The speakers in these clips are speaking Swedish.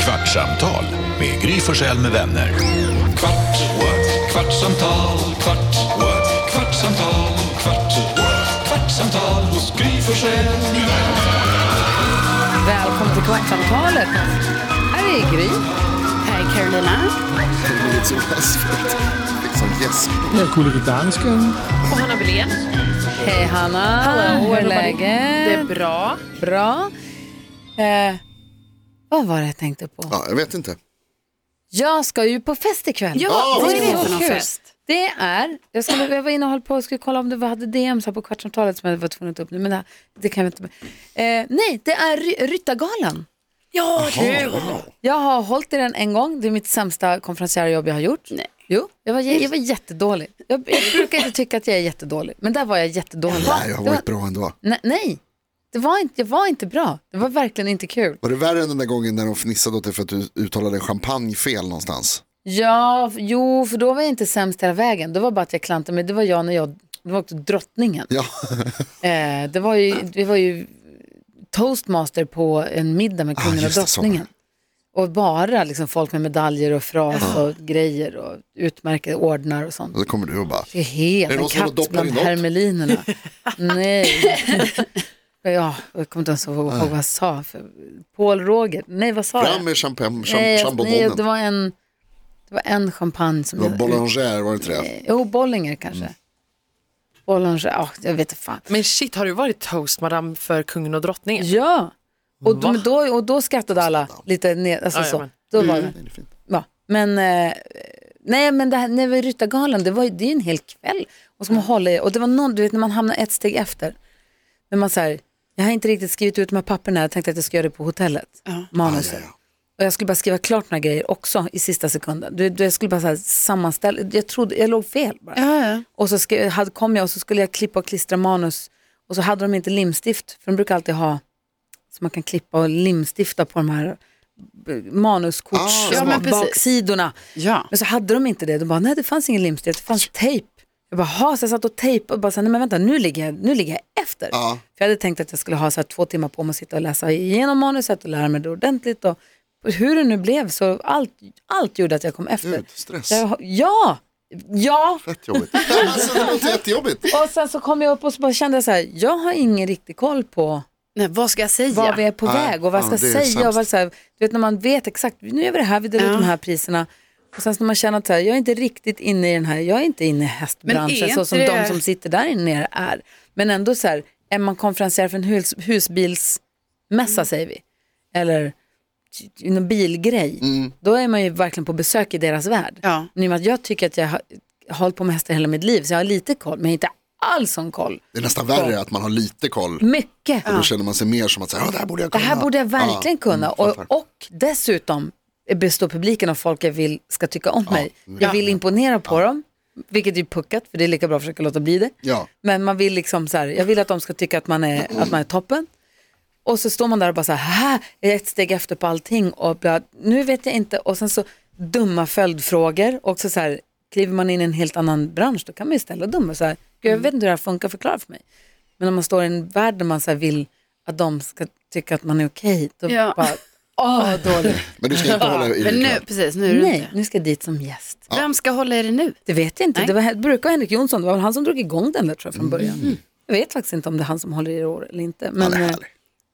Kvartsamtal med Gry Forssell med vänner. Kvart, what? kvartsamtal, kvart, what? kvartsamtal, kvart, what? kvartsamtal hos Gry Forssell med vänner. Välkommen till Kvartsamtalet. Här är Gry. Hej Carolina. Lite som gäspigt. Liksom gäsp. Jag kollar dansken. Och Hanna Belén. Hej Hanna. Hur är Det är läget? bra. Bra. Eh, vad var det jag tänkte på? Ja, jag vet inte. Jag ska ju på fest ikväll. Ja, det vad är det är för så någon kul. fest? Det är, jag, skulle, jag var inne och höll på och skulle kolla om du hade DMs här på kvartsamtalet som jag var tvungen att ta upp nu, men det, här- det kan jag inte. Eh, nej, det är Ry- Ryttargalan. Ja, kul. Jag har hållit i den en gång, det är mitt sämsta konferensjärjobb jag har gjort. Nej. Jo, jag var, jag var jättedålig. Jag, jag brukar inte tycka att jag är jättedålig, men där var jag jättedålig. Nej, jag har Det var- varit bra ändå. Nej, nej. Det var inte, jag var inte bra. Det var verkligen inte kul. Var det värre än den där gången när de fnissade åt dig för att du uttalade champagne fel någonstans? Ja, f- jo, för då var jag inte sämst hela vägen. Det var bara att jag klantade mig. Det var jag när jag, det var också drottningen. Ja, Eh, det, var ju, det var ju toastmaster på en middag med kungen och Ah, just det, så var det. drottningen. Och bara liksom folk med medaljer och fras och grejer och utmärkta ordnar och sånt. och då kommer du och bara, Det är helt Är en det någon som har katt doppat bland i något? hermelinerna. Nej. ja, jag kommer inte ens ihåg ihåg vad jag sa. För Paul Roger, nej vad sa fram jag? med champagne, Nej, cham- jag- nej, det chambononen. var en, det var en champagne som Det var jag... Bollanger, var det inte det? Jo, Bollinger kanske. Mm. Bollinger, ja, jag vet inte fan. Men shit, har du varit toastmadam för kungen och drottningen? Ja, och då, men då, och då skrattade alla lite ner, alltså Ja, så. jajamän. Då var det. Nej, det är fint. Ja, men eh, nej, men det här, när vi var i Ryttargalan, det var ju det är ju en hel kväll. Och, som hålla i, och det var någon, du vet när man hamnar ett steg efter. När man så här, jag har inte riktigt skrivit ut de här papperna, jag tänkte att jag ska göra det på hotellet, manuset. Ja, ja, Och jag skulle bara skriva klart några grejer också i sista sekunden. Du, du, jag skulle bara så här sammanställa, jag trodde, jag låg fel bara. Ja, Och så skri- hade, kom jag och så skulle jag klippa och klistra manus. Och så hade de inte limstift, för de brukar alltid ha så man kan klippa och limstifta på de här b- manuskorts Ah, Ja, men precis. baksidorna. ja. Men så hade de inte det. De bara, nej det fanns ingen limstift, det fanns tejp. Jag bara, ha, så jag satt och tejpade och bara, så här, nej men vänta, nu ligger jag, nu ligger jag efter. Ja. För jag hade tänkt att jag skulle ha så här, två timmar på mig att sitta och läsa igenom manuset och lära mig det ordentligt. Och hur det nu blev så allt, allt gjorde att jag kom efter. Gud, stress. Jag, ja, ja, Fett jobbigt. Nej, alltså, det låter jättejobbigt. och sen så kom jag upp och så bara kände jag så här, jag har ingen riktig koll på Nej, vad ska jag säga? var vi är på Nej, väg och vad jag ja, ska det är säga. Och vad, sämst. så här, du vet när man vet exakt, nu gör vi det här, vi delar ut de här priserna. Och sen så när man känner att så här, jag är inte riktigt inne i den här, jag är inte inne i Men är hästbranschen inte så som det- de som sitter där inne nere är. Men ändå så här, är man konferenser för en hus, husbilsmässa Mm. säger vi, eller t- t- en bilgrej, Mm. då är man ju verkligen på besök i deras värld. Ja. Men i och med att jag tycker att jag har har hållit på med hästar hela mitt liv så jag har lite koll, men jag har inte alls sån koll. Det är nästan värre att man har lite koll. Mycket. Då känner man sig mer som att, så här, "Ja, det här borde jag Det kunna. här borde jag verkligen Ja, kunna. mm, och, fattar. och dessutom består publiken av folk jag vill ska tycka om mig. mm. Jag vill imponera på dem, vilket är ju puckat för det är lika bra att försöka låta bli det. Ja. Mm. Men man vill liksom så här, jag vill att de ska tycka att man är, att man är toppen. Och så står man där och bara så här, "Haha, jag är ett steg efter på allting och bla, nu vet jag inte. Och sen så dumma följdfrågor och så, så här, kliver man in i en helt annan bransch då kan man ju ställa dumma så här, Gud, jag vet inte hur det här funkar, förklara för mig. Men om man står i en värld där man så här vill att de ska tycka att man är okej, då Ja. bara, åh dåligt. Men du ska inte hålla i Men det. nu, ikväll. precis, nu är du Nej, inte. nu ska jag dit som gäst. Vem ska hålla i det nu? Det vet jag inte. Nej. Mm. Det, var, det brukar vara Henrik Jonsson. Det var väl han som drog igång den där tror jag från början. Jag vet faktiskt inte om det är han som håller i år eller inte. Men Han är eh, härlig.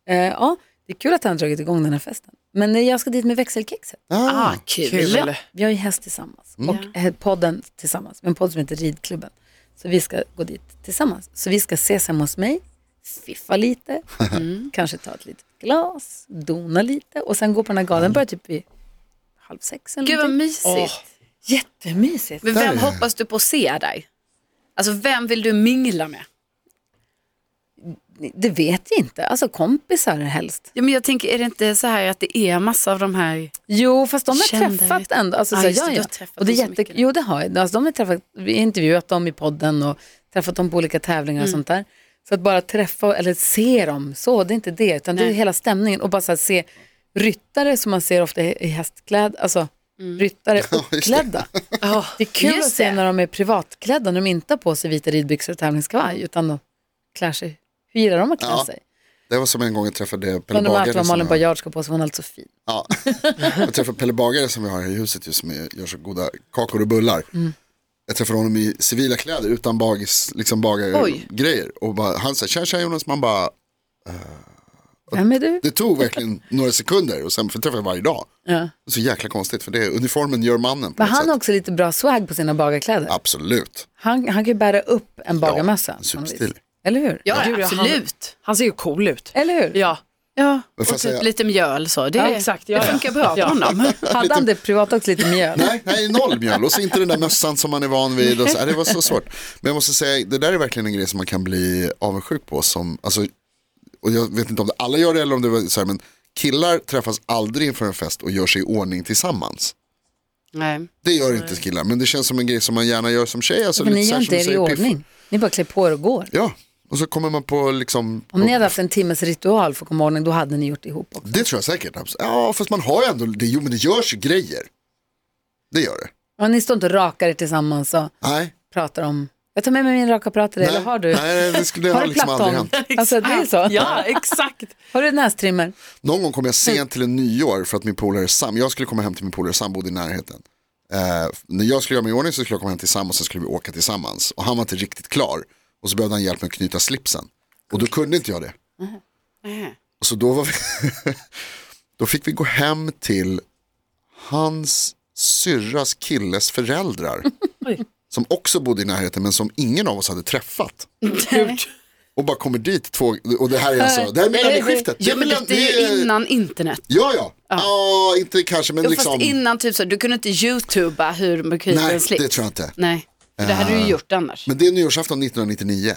eh, ja, det är kul att han har dragit igång den här festen. Men eh, jag ska dit med växelkexet. Ah, Kul. Ja. Vi har ju häst tillsammans Mm. och eh, podden tillsammans. En podd som heter Ridklubben. Så vi ska gå dit tillsammans. Så vi ska ses hemma hos mig, fiffa lite, Mm. kanske ta ett litet glas, dona lite och sen gå på den här galan. Den börjar typ vid halv sex eller Mm. Gud vad någonting. mysigt. Jättemysigt. Men Där vem är- hoppas du på att se där? Alltså vem vill du mingla med? Det vet jag inte. Alltså kompisar helst. Ja, men jag tänker, är det inte så här att det är massa av de här... Jo, fast de har Kända, träffat vet du. ändå. Alltså, Ja, så, just ja, det, du ja. har träffat och det är dem så jätte... mycket. Jo, det har jag. Alltså, de har träffat, vi har intervjuat dem i podden och träffat dem på olika tävlingar Mm. och sånt där. Så att bara träffa eller se dem, så det är inte det, utan det är Nej. hela stämningen och bara så här, se ryttare som man ser ofta i i hästkläd, alltså ryttare uppklädda. Ja, Det är kul Mm. Just att se det. när de är privatklädda, när de inte har på sig vita ridbyxor och tävlingskavaj, utan de klär sig, hur gillar de att klä Ja. sig? Det var som en gång jag träffade Pelle Men de märkte Bagare. vad som Malin jag- Baryard ska på sig, hon är alltså fin. Ja. Jag träffade Pelle Bagare som vi har här i huset just som gör så goda kakor och bullar. Mm. Jag träffade honom i civila kläder utan bagis, liksom Oj. bagargrejer. Och bara, han sa tja tja Jonas, man bara, Vem är du? det tog verkligen några sekunder och sen för jag träffade jag varje dag. Så jäkla konstigt för det, uniformen gör mannen på Var något han sätt. också lite bra swag på sina bagarkläder? Absolut. Han, han kan ju bära upp en bagarmössa. på något superstil. vis. Eller hur? Ja, Gud, ja, han- absolut. Han ser ju cool ut. Eller hur? Ja, Ja, Men och får jag typ säga- lite mjöl så. Det, Ja, exakt, ja, det ja. funkar bra på Ja. honom. Hade han det privat också lite mjöl? Nej, nej, noll mjöl och så inte den där mössan som man är van vid. Och så, nej, det var så svårt. Men jag måste säga, det där är verkligen en grej som man kan bli avundsjuk på. Som, alltså, och jag vet inte om det, alla gör det eller om det var så här, men killar träffas aldrig inför en fest och gör sig i ordning tillsammans. Nej. Det gör inte killar, men det känns som en grej som man gärna gör som tjej. Alltså, Men lite ni så gör här inte som du er i säger, piff. ordning. Ni bara klär på er och går. Ja, och så kommer man på liksom... Om ni hade haft en timmes ritual för att komma i ordning, då hade ni gjort det ihop också. Det tror jag säkert. absolut. Ja, fast man har ju ändå, det, jo men det görs ju grejer. Det gör det. Ja, ni står inte och rakar er tillsammans och Nej, pratar om... Jag tar med mig min rakapparat till dig, eller nej, har du? nej det, skulle, det har har du liksom aldrig hänt. plattan? Alltså det är så. ja exakt. Har du nästrimmer? Någon gång kom jag sent till en nyår för att min polare Sam, jag skulle komma hem till min polare Sam bodde i närheten. Eh, när jag skulle göra mig i ordning så skulle jag komma hem till Sam och sen skulle vi åka tillsammans. Och han var inte riktigt klar. Och så behövde han hjälp med att knyta slipsen. Och då kunde inte jag det. Och så då var vi, då fick vi gå hem till hans syrras killes föräldrar. Oj. som också bodde i närheten men som ingen av oss hade träffat. Och bara kommer dit två, och det här är alltså, det här är millennieskiftet. Ja, men det, är ju det är- innan internet. Ja, ja. Ja, inte kanske, men Jo, liksom. Fast innan typ så, du kunde inte youtuba hur man kryper nej, en slips. det tror jag inte. Eh, Nej, för det hade du ju gjort annars. Men det är nyårsafton 1999.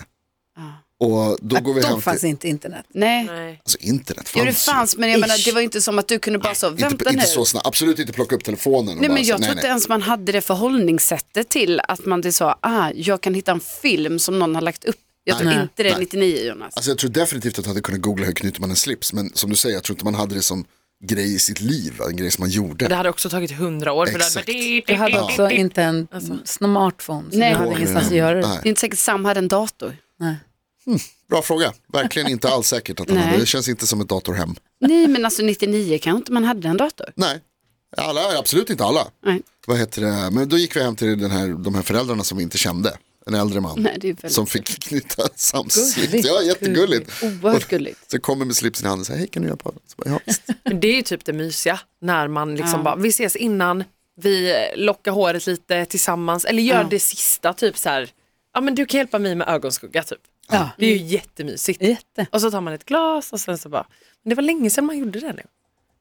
Ah. Och då går vi Då hem fanns till, inte internet. Nej. Nej. alltså internet fanns Jo det fanns men jag menar Ish. det var inte som att du kunde bara så, ju. vänta Inte, inte nu. så snabbt, absolut inte plocka upp telefonen. och Nej bara men så, jag nej, tror inte nej. ens man hade det förhållningssättet till att man det sa, ah jag kan hitta en film som någon har lagt upp. Jag tror Nej. inte det är Nej. 99 Jonas. Alltså jag tror definitivt att jag hade kunnat googla hur knyter man en slips. Men som du säger, jag tror inte man hade det som grej i sitt liv, en grej som man gjorde. Det hade också tagit hundra år. För Exakt. det Du hade hade varit- också inte en smartphone, så Nej. du hade ingenstans att göra det. Nej. Det är inte säkert Sam hade en dator. Bra fråga, verkligen inte alls säkert att han Nej. hade. Det känns inte som ett datorhem. Nej men alltså 99 kanske inte man hade en dator. Nej, alla, absolut inte alla. Nej, vad heter det, men då gick vi hem till den här, de här föräldrarna som vi inte kände. En äldre man Nej, det är väldigt som fick knyta samslips. Gulligt. Ja, jättegulligt. oerhört gulligt. Så kommer med slipsen i handen och säger, hej kan du hjälpa mig? Så bara, ja, visst. Men det är ju typ det mysiga när man liksom bara, vi ses innan, vi lockar håret lite tillsammans eller gör det sista typ så här, ja men du kan hjälpa mig med ögonskugga typ. Ja. Det är ju jättemysigt. Jätte. Och så tar man ett glas och sen så bara, men det var länge sedan man gjorde det nu. Jag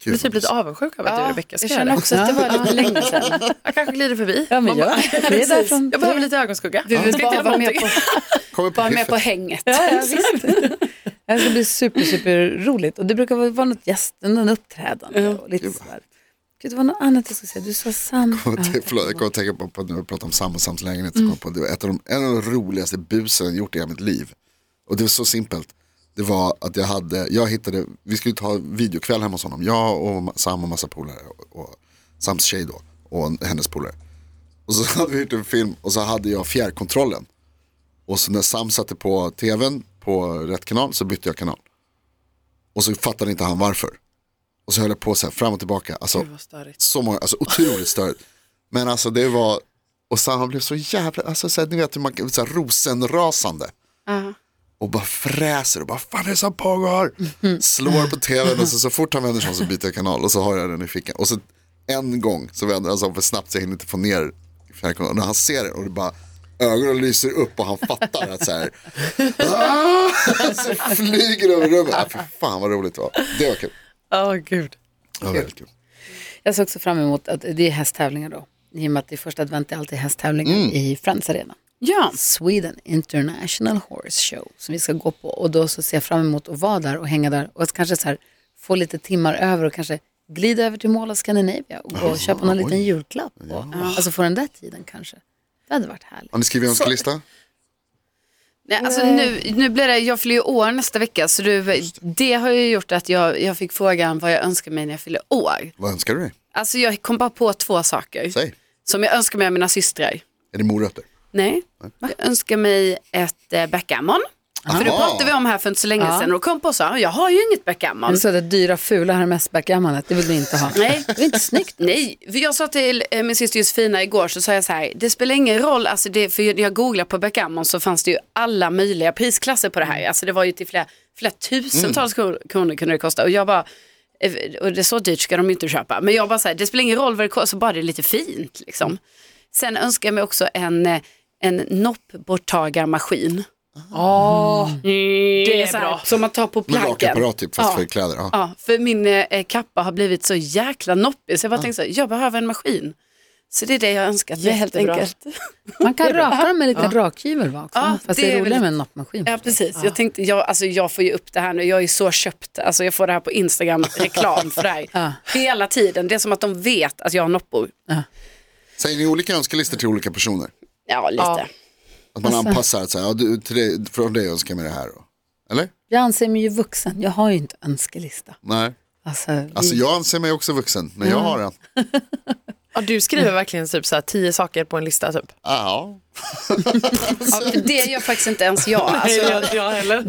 Kul blir typ lite avundsjuk över att du Rebecka ska jag göra känner det. också att det var lite länge sedan. Jag kanske glider förbi. Ja, men Man bara, jag, det är därifrån. jag behöver lite ögonskugga. Du vill Ska inte bara göra vara med någonting. på, Kommer på bara med på piffet. hänget. Ja, ja, visst. Det här ska bli super, super roligt. Och det brukar vara- vara något gäst, någon uppträdande och lite sådär. Gud, det var något annat jag skulle säga. Du sa Sam. Förlåt, jag kommer att tänka på, på när vi pratade om Sam och Sams lägenhet, så kom jag på, det var ett av de, en av de roligaste busen jag gjort i hela mitt liv. Och det var så simpelt. Det var att jag hade, jag hittade, vi skulle ta videokväll hemma hos honom, jag och Sam och massa polare, och, och Sams tjej då, och en- hennes polare. Och så hade vi gjort en film och så hade jag fjärrkontrollen. Och så när Sam satte på tvn på rätt kanal så bytte jag kanal. Och så fattade inte han varför. Och så höll jag på så här fram och tillbaka. Alltså, Vad störigt. så många, alltså otroligt störigt. Men alltså det var, och sen han blev så jävla, alltså så här, ni vet hur man kan, så här, rosenrasande. Och bara fräser och bara, fan är det som pågår? Slår på tvn och så, så fort han vänder sig om så byter jag kanal och så har jag den i fickan. Och så en gång så vänder han sig om för snabbt så jag hinner inte få ner fjärrkontrollen. Och när han ser det och det bara, ögonen lyser upp och han fattar att så här, "Ah!" så flyger det över rummet. Äh, för fan vad roligt det var. Det var kul. Åh gud. Det var väldigt kul. Jag ser också fram emot att det är hästtävlingar då. I och med att det är första advent är alltid hästtävlingar i Friends Arena. Ja, Sweden International Horse Show som vi ska gå på. Och då så ser jag fram emot att vara där och hänga där och kanske så här, få lite timmar över och kanske glida över till Mall of Scandinavia och gå och köpa någon liten julklapp. Och, Alltså få den där tiden kanske. Det hade varit härligt. Har ni skrivit önskelista? Nej, alltså nu, nu blir det, jag fyller ju år nästa vecka så du, det har ju gjort att jag, jag fick frågan vad jag önskar mig när jag fyller år. Vad önskar du dig? Alltså jag kom bara på två saker Säg. som jag önskar mig av mina systrar. Är det morötter? Nej, jag önskar mig ett eh, backgammon För det Aha. pratade vi om här för inte så länge Ja. sedan och kom på och sa, jag har ju inget backgammon. Du sa det dyra fula hermesbackgammanet, det vill vi inte ha. Nej. Det är inte snyggt. Nej, för jag sa till eh, min syster Josefina igår så sa jag så här, det spelar ingen roll, alltså det, för när jag googlade på backgammon så fanns det ju alla möjliga prisklasser på det Mm. här. Alltså det var ju till flera, flera tusentals kro- kronor kunde det kosta och jag bara, eh, och det är så dyrt ska de ju inte köpa, men jag bara så här, det spelar ingen roll vad det kostar, bara det är lite fint liksom. Sen önskar jag mig också en, eh, en noppborttagarmaskin. Ah. Åh, det är så här, bra. Som man tar på Med plaggen. rakapparat typ fast Ja. för kläder. Ja. Ja, för min eh, kappa har blivit så jäkla noppig så jag bara tänkte så här, jag behöver en maskin. Så det är det jag önskat mig helt Jättebra. enkelt. Man kan raka dem med lite rakhyvel va också, Ja, fast det det är är väl roligare med en noppmaskin. Ja, precis. Jag tänkte, jag, alltså, jag får ju upp det här nu, jag är ju så köpt, alltså jag får det här på Instagram, reklam för det här hela tiden. Det är som att de vet att jag har noppor. Säger ni olika önskelistor till olika personer? Ja, lite. Ja. Att man Alltså- anpassar att säga, ja, du, till dig, från dig önskar jag mig det här. Då. Eller? Jag anser mig ju vuxen, jag har ju inte önskelista. Nej. Alltså, vi- Alltså jag anser mig också vuxen, men jag har en. Ja, du skriver verkligen typ så här, tio saker på en lista typ. Ja. Ja, för det gör faktiskt inte ens jag. Alltså, jag heller.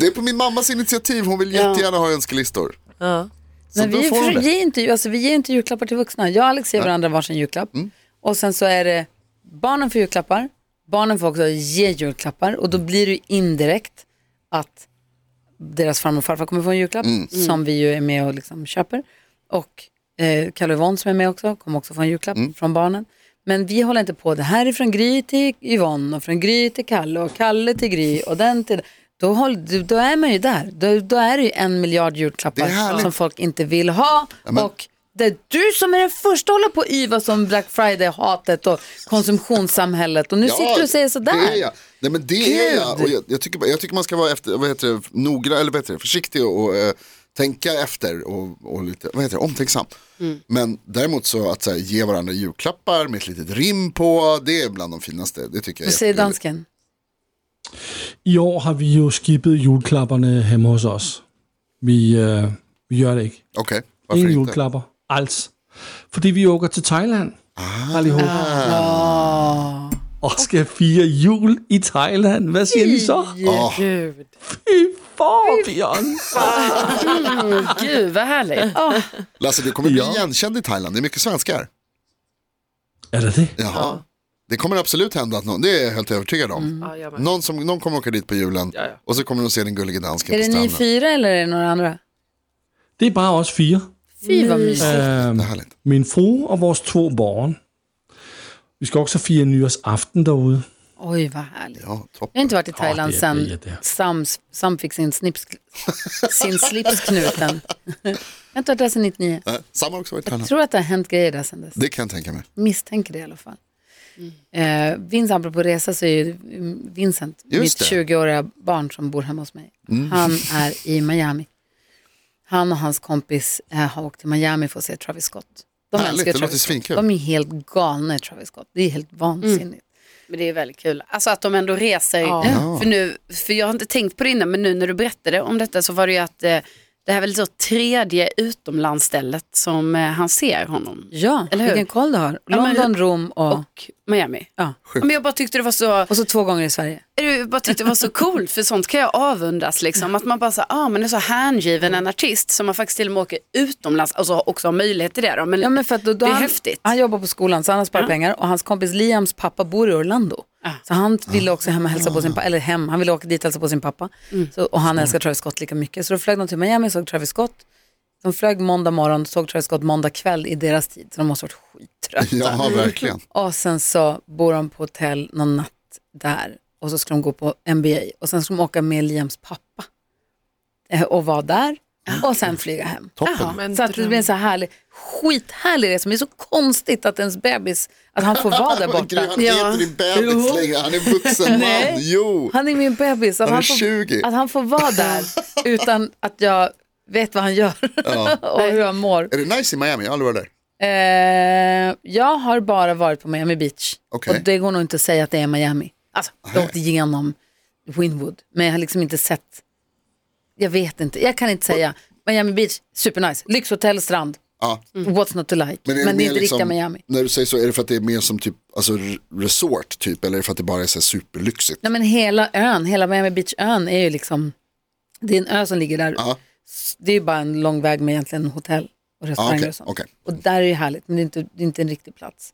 Det är på min mammas initiativ, hon vill jättegärna ha önskelistor. Så Men då vi, får hon för, det. ger inte, alltså, vi ger inte julklappar till vuxna. Jag och Alex ger varandra varsin julklapp. Mm. Och sen så är det barnen får julklappar, barnen får också ge julklappar och då blir det ju indirekt att deras farmor och farfar kommer få en julklapp Mm. som vi ju är med och liksom köper. Och eh, Kalle och Yvonne som är med också kommer också få en julklapp Mm. från barnen. Men vi håller inte på, det här är från Gry till Yvonne och från Gry till Kalle och Kalle till Gry och den till... Då, håll, då- då är man ju där. Då, då är det ju en miljard Det är julklappar härligt. som folk inte vill ha. Och det är du som är den första att hålla på och yvas om Black Friday-hatet och konsumtionssamhället. Och nu sitter du och säger sådär. Det är jag. Nej men det är jag. Gud. Och jag, jag, tycker, jag tycker man ska vara efter, vad heter det, noggrann, eller vad heter det, försiktig och, eh, tänka efter och, och lite, vad heter det, omtänksam. Mm. Men däremot så att så här, ge varandra julklappar med ett litet rim på, det är bland de finaste. Det tycker jag Vad är säger jättegulligt. dansken? I år har vi jo skippet juleklapperne hjemme hos os. Vi, øh, vi gør det ikke. Okej, varför Ingen inte? juleklapper. Alls. Fordi vi åker til Thailand. Allihop. Og skal fire jul i Thailand. Hvad siger I så? Ja, Gud. Fy for, Bjørn. Gud, vad härligt. Lasse, du kommer bli Ja. igenkänd i Thailand, det är mycket svenskar. Er det det? Jaha. Det kommer absolut hända att någon, det är jag helt övertygad om. Mm. Ja, jag med. Någon, som, någon kommer åka dit på julen Ja, ja. och så kommer de se den gullige dansken Är på det ni stranden. fyra eller är det några andra? Det er bare os fire. Fy vad mysigt. Øhm, Det är härligt. min fru og vores to barn. Vi skal også fire nyårsaften derude. Oj vad härligt. Ja, topp. Jag har inte varit i Thailand det är sen frihet, det. Sam, Sam fick sin, snips, sin slips knuten. Jag har inte varit där sedan 99. Eh, Sam har också varit i Jag Thailand. tror att det har hänt grejer där sedan dess. Det kan jag tänka mig. Misstänker det i alla fall. Eh, Vincent, apropå resa, så är ju Vincent Just mitt det. Mm. 20-åriga barn som bor hemma hos mig. Han är i Miami. Han och hans kompis eh, har åkt till Miami för att se Travis Scott. De Härligt, älskar det Travis låter Scott. svinkul. De är helt galna i Travis Scott. Det är helt vansinnigt. Men det är väldigt kul. Alltså att de ändå reser. För, nu, för jag har inte tänkt på det innan, men nu när du berättade om detta så var det ju att eh, det här är väl så tredje utomlandsstället som eh, han ser honom. Ja, Eller hur? vilken koll du har. Ja, men- London, Rom och, och, Och Miami. ja. Men jag bara tyckte det var så, och så två gånger i Sverige. jag bara tyckte det var så coolt, för sånt kan jag avundas liksom. Att man bara så, ah, man är så hängiven en artist som man faktiskt till och med åker utomlands, alltså också har möjlighet till det då. Men, Ja, men för att då, då det är han, häftigt. Han jobbar på skolan så han har sparat pengar och hans kompis Liams pappa bor i Orlando. Så han ville också hem och hälsa på sin pappa, eller hem, han ville åka dit och hälsa på sin pappa. Så, och han älskar Travis Scott lika mycket. Så då flög de till Miami och såg Travis Scott. De flög måndag morgon, såg Travis Scott måndag kväll i deras tid. Så de måste ha varit skittrötta. Ja, verkligen. Och sen så bor de på hotell någon natt där och så ska de gå på NBA och sen ska de åka med Liams pappa eh, och vara där och sen flyga hem. Toppen. Men Så att det blir en så här härlig, skithärlig resa. Men det är så konstigt att ens bebis, att han får vara där Men Gry, borta. han är Ja. inte din bebis Jo. längre, han är vuxen man. Jo, Han är min bebis, att Han är han, får, 20. att han får vara där utan att jag vet vad han gör och hur han mår. är det nice i Miami? Jag har aldrig varit där. Eh, jag har bara varit på Miami Beach Okej. och det går nog inte att säga att det är Miami. Alltså, jag åkte igenom Wynwood, men jag har liksom inte sett, jag vet inte, jag kan inte säga. Miami Beach, supernice, lyxhotell, strand, Ja, What's not to like. Mm. Men det liksom- är, mer liksom- inte riktiga Miami. När du säger så, är det för att det är mer som typ, alltså r- resort typ, eller är det för att det bara är så här superlyxigt? Nej men hela ön, hela Miami Beach-ön är ju liksom, det är en ö som ligger där. Ja, S- Det är ju bara en lång väg med egentligen hotell och ja, restauranger okej. och sånt. okej. Och där är det ju härligt, men det är inte, det är inte en riktig plats.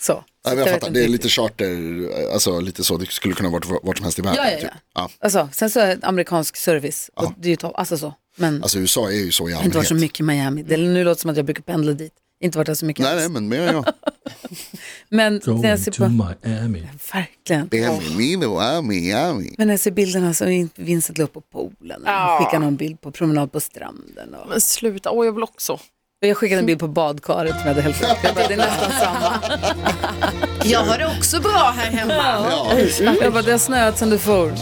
så. så Nej, men vet jag fattar, inte det är riktigt. lite charter, alltså lite så, det skulle kunna vara vart, vart som helst i världen. Ja, ja, ja. Typ. ja. Alltså, sen så är det amerikansk service, och det är ju topp, alltså så. Men Alltså USA är ju så i jag har inte varit allmänhet. så mycket i Miami. Det, nu låter det som att jag brukar pendla dit. Inte varit där så mycket Nej, alls. nej, men mer ja. Men när jag Going ser to på, Miami. verkligen. Miami, Milo, ah, Miami. Men när jag ser bilderna så är Vincent la upp på poolen. Ja. Jag skickar någon bild på promenad på stranden. Och... Men sluta, åh jag vill också. Och jag skickade en bild på badkaret som jag hade hällt upp. Jag bara, det är nästan samma. Jag har det också bra här hemma. Ja, Jag bara, det har snöat sen du for.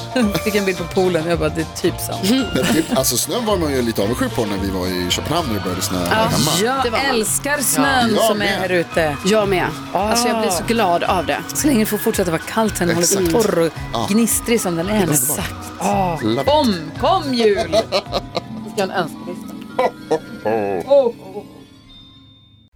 Fick en bild på poolen. Jag bara, det är typ Mm. samma. men typ, alltså snön var man ju lite avundsjuk på när vi var i Köpenhamn när det började snöa här hemma. Det var- Jag älskar snön Ja. som är Jag med. här ute. Ah. Jag med. Alltså jag blir så glad av det. Så länge det får fortsätta vara kallt sen den håller så torr och gnistrig som den är nu. Exakt. Love it. Kom, kom jul! Vi ska ha en önskelista.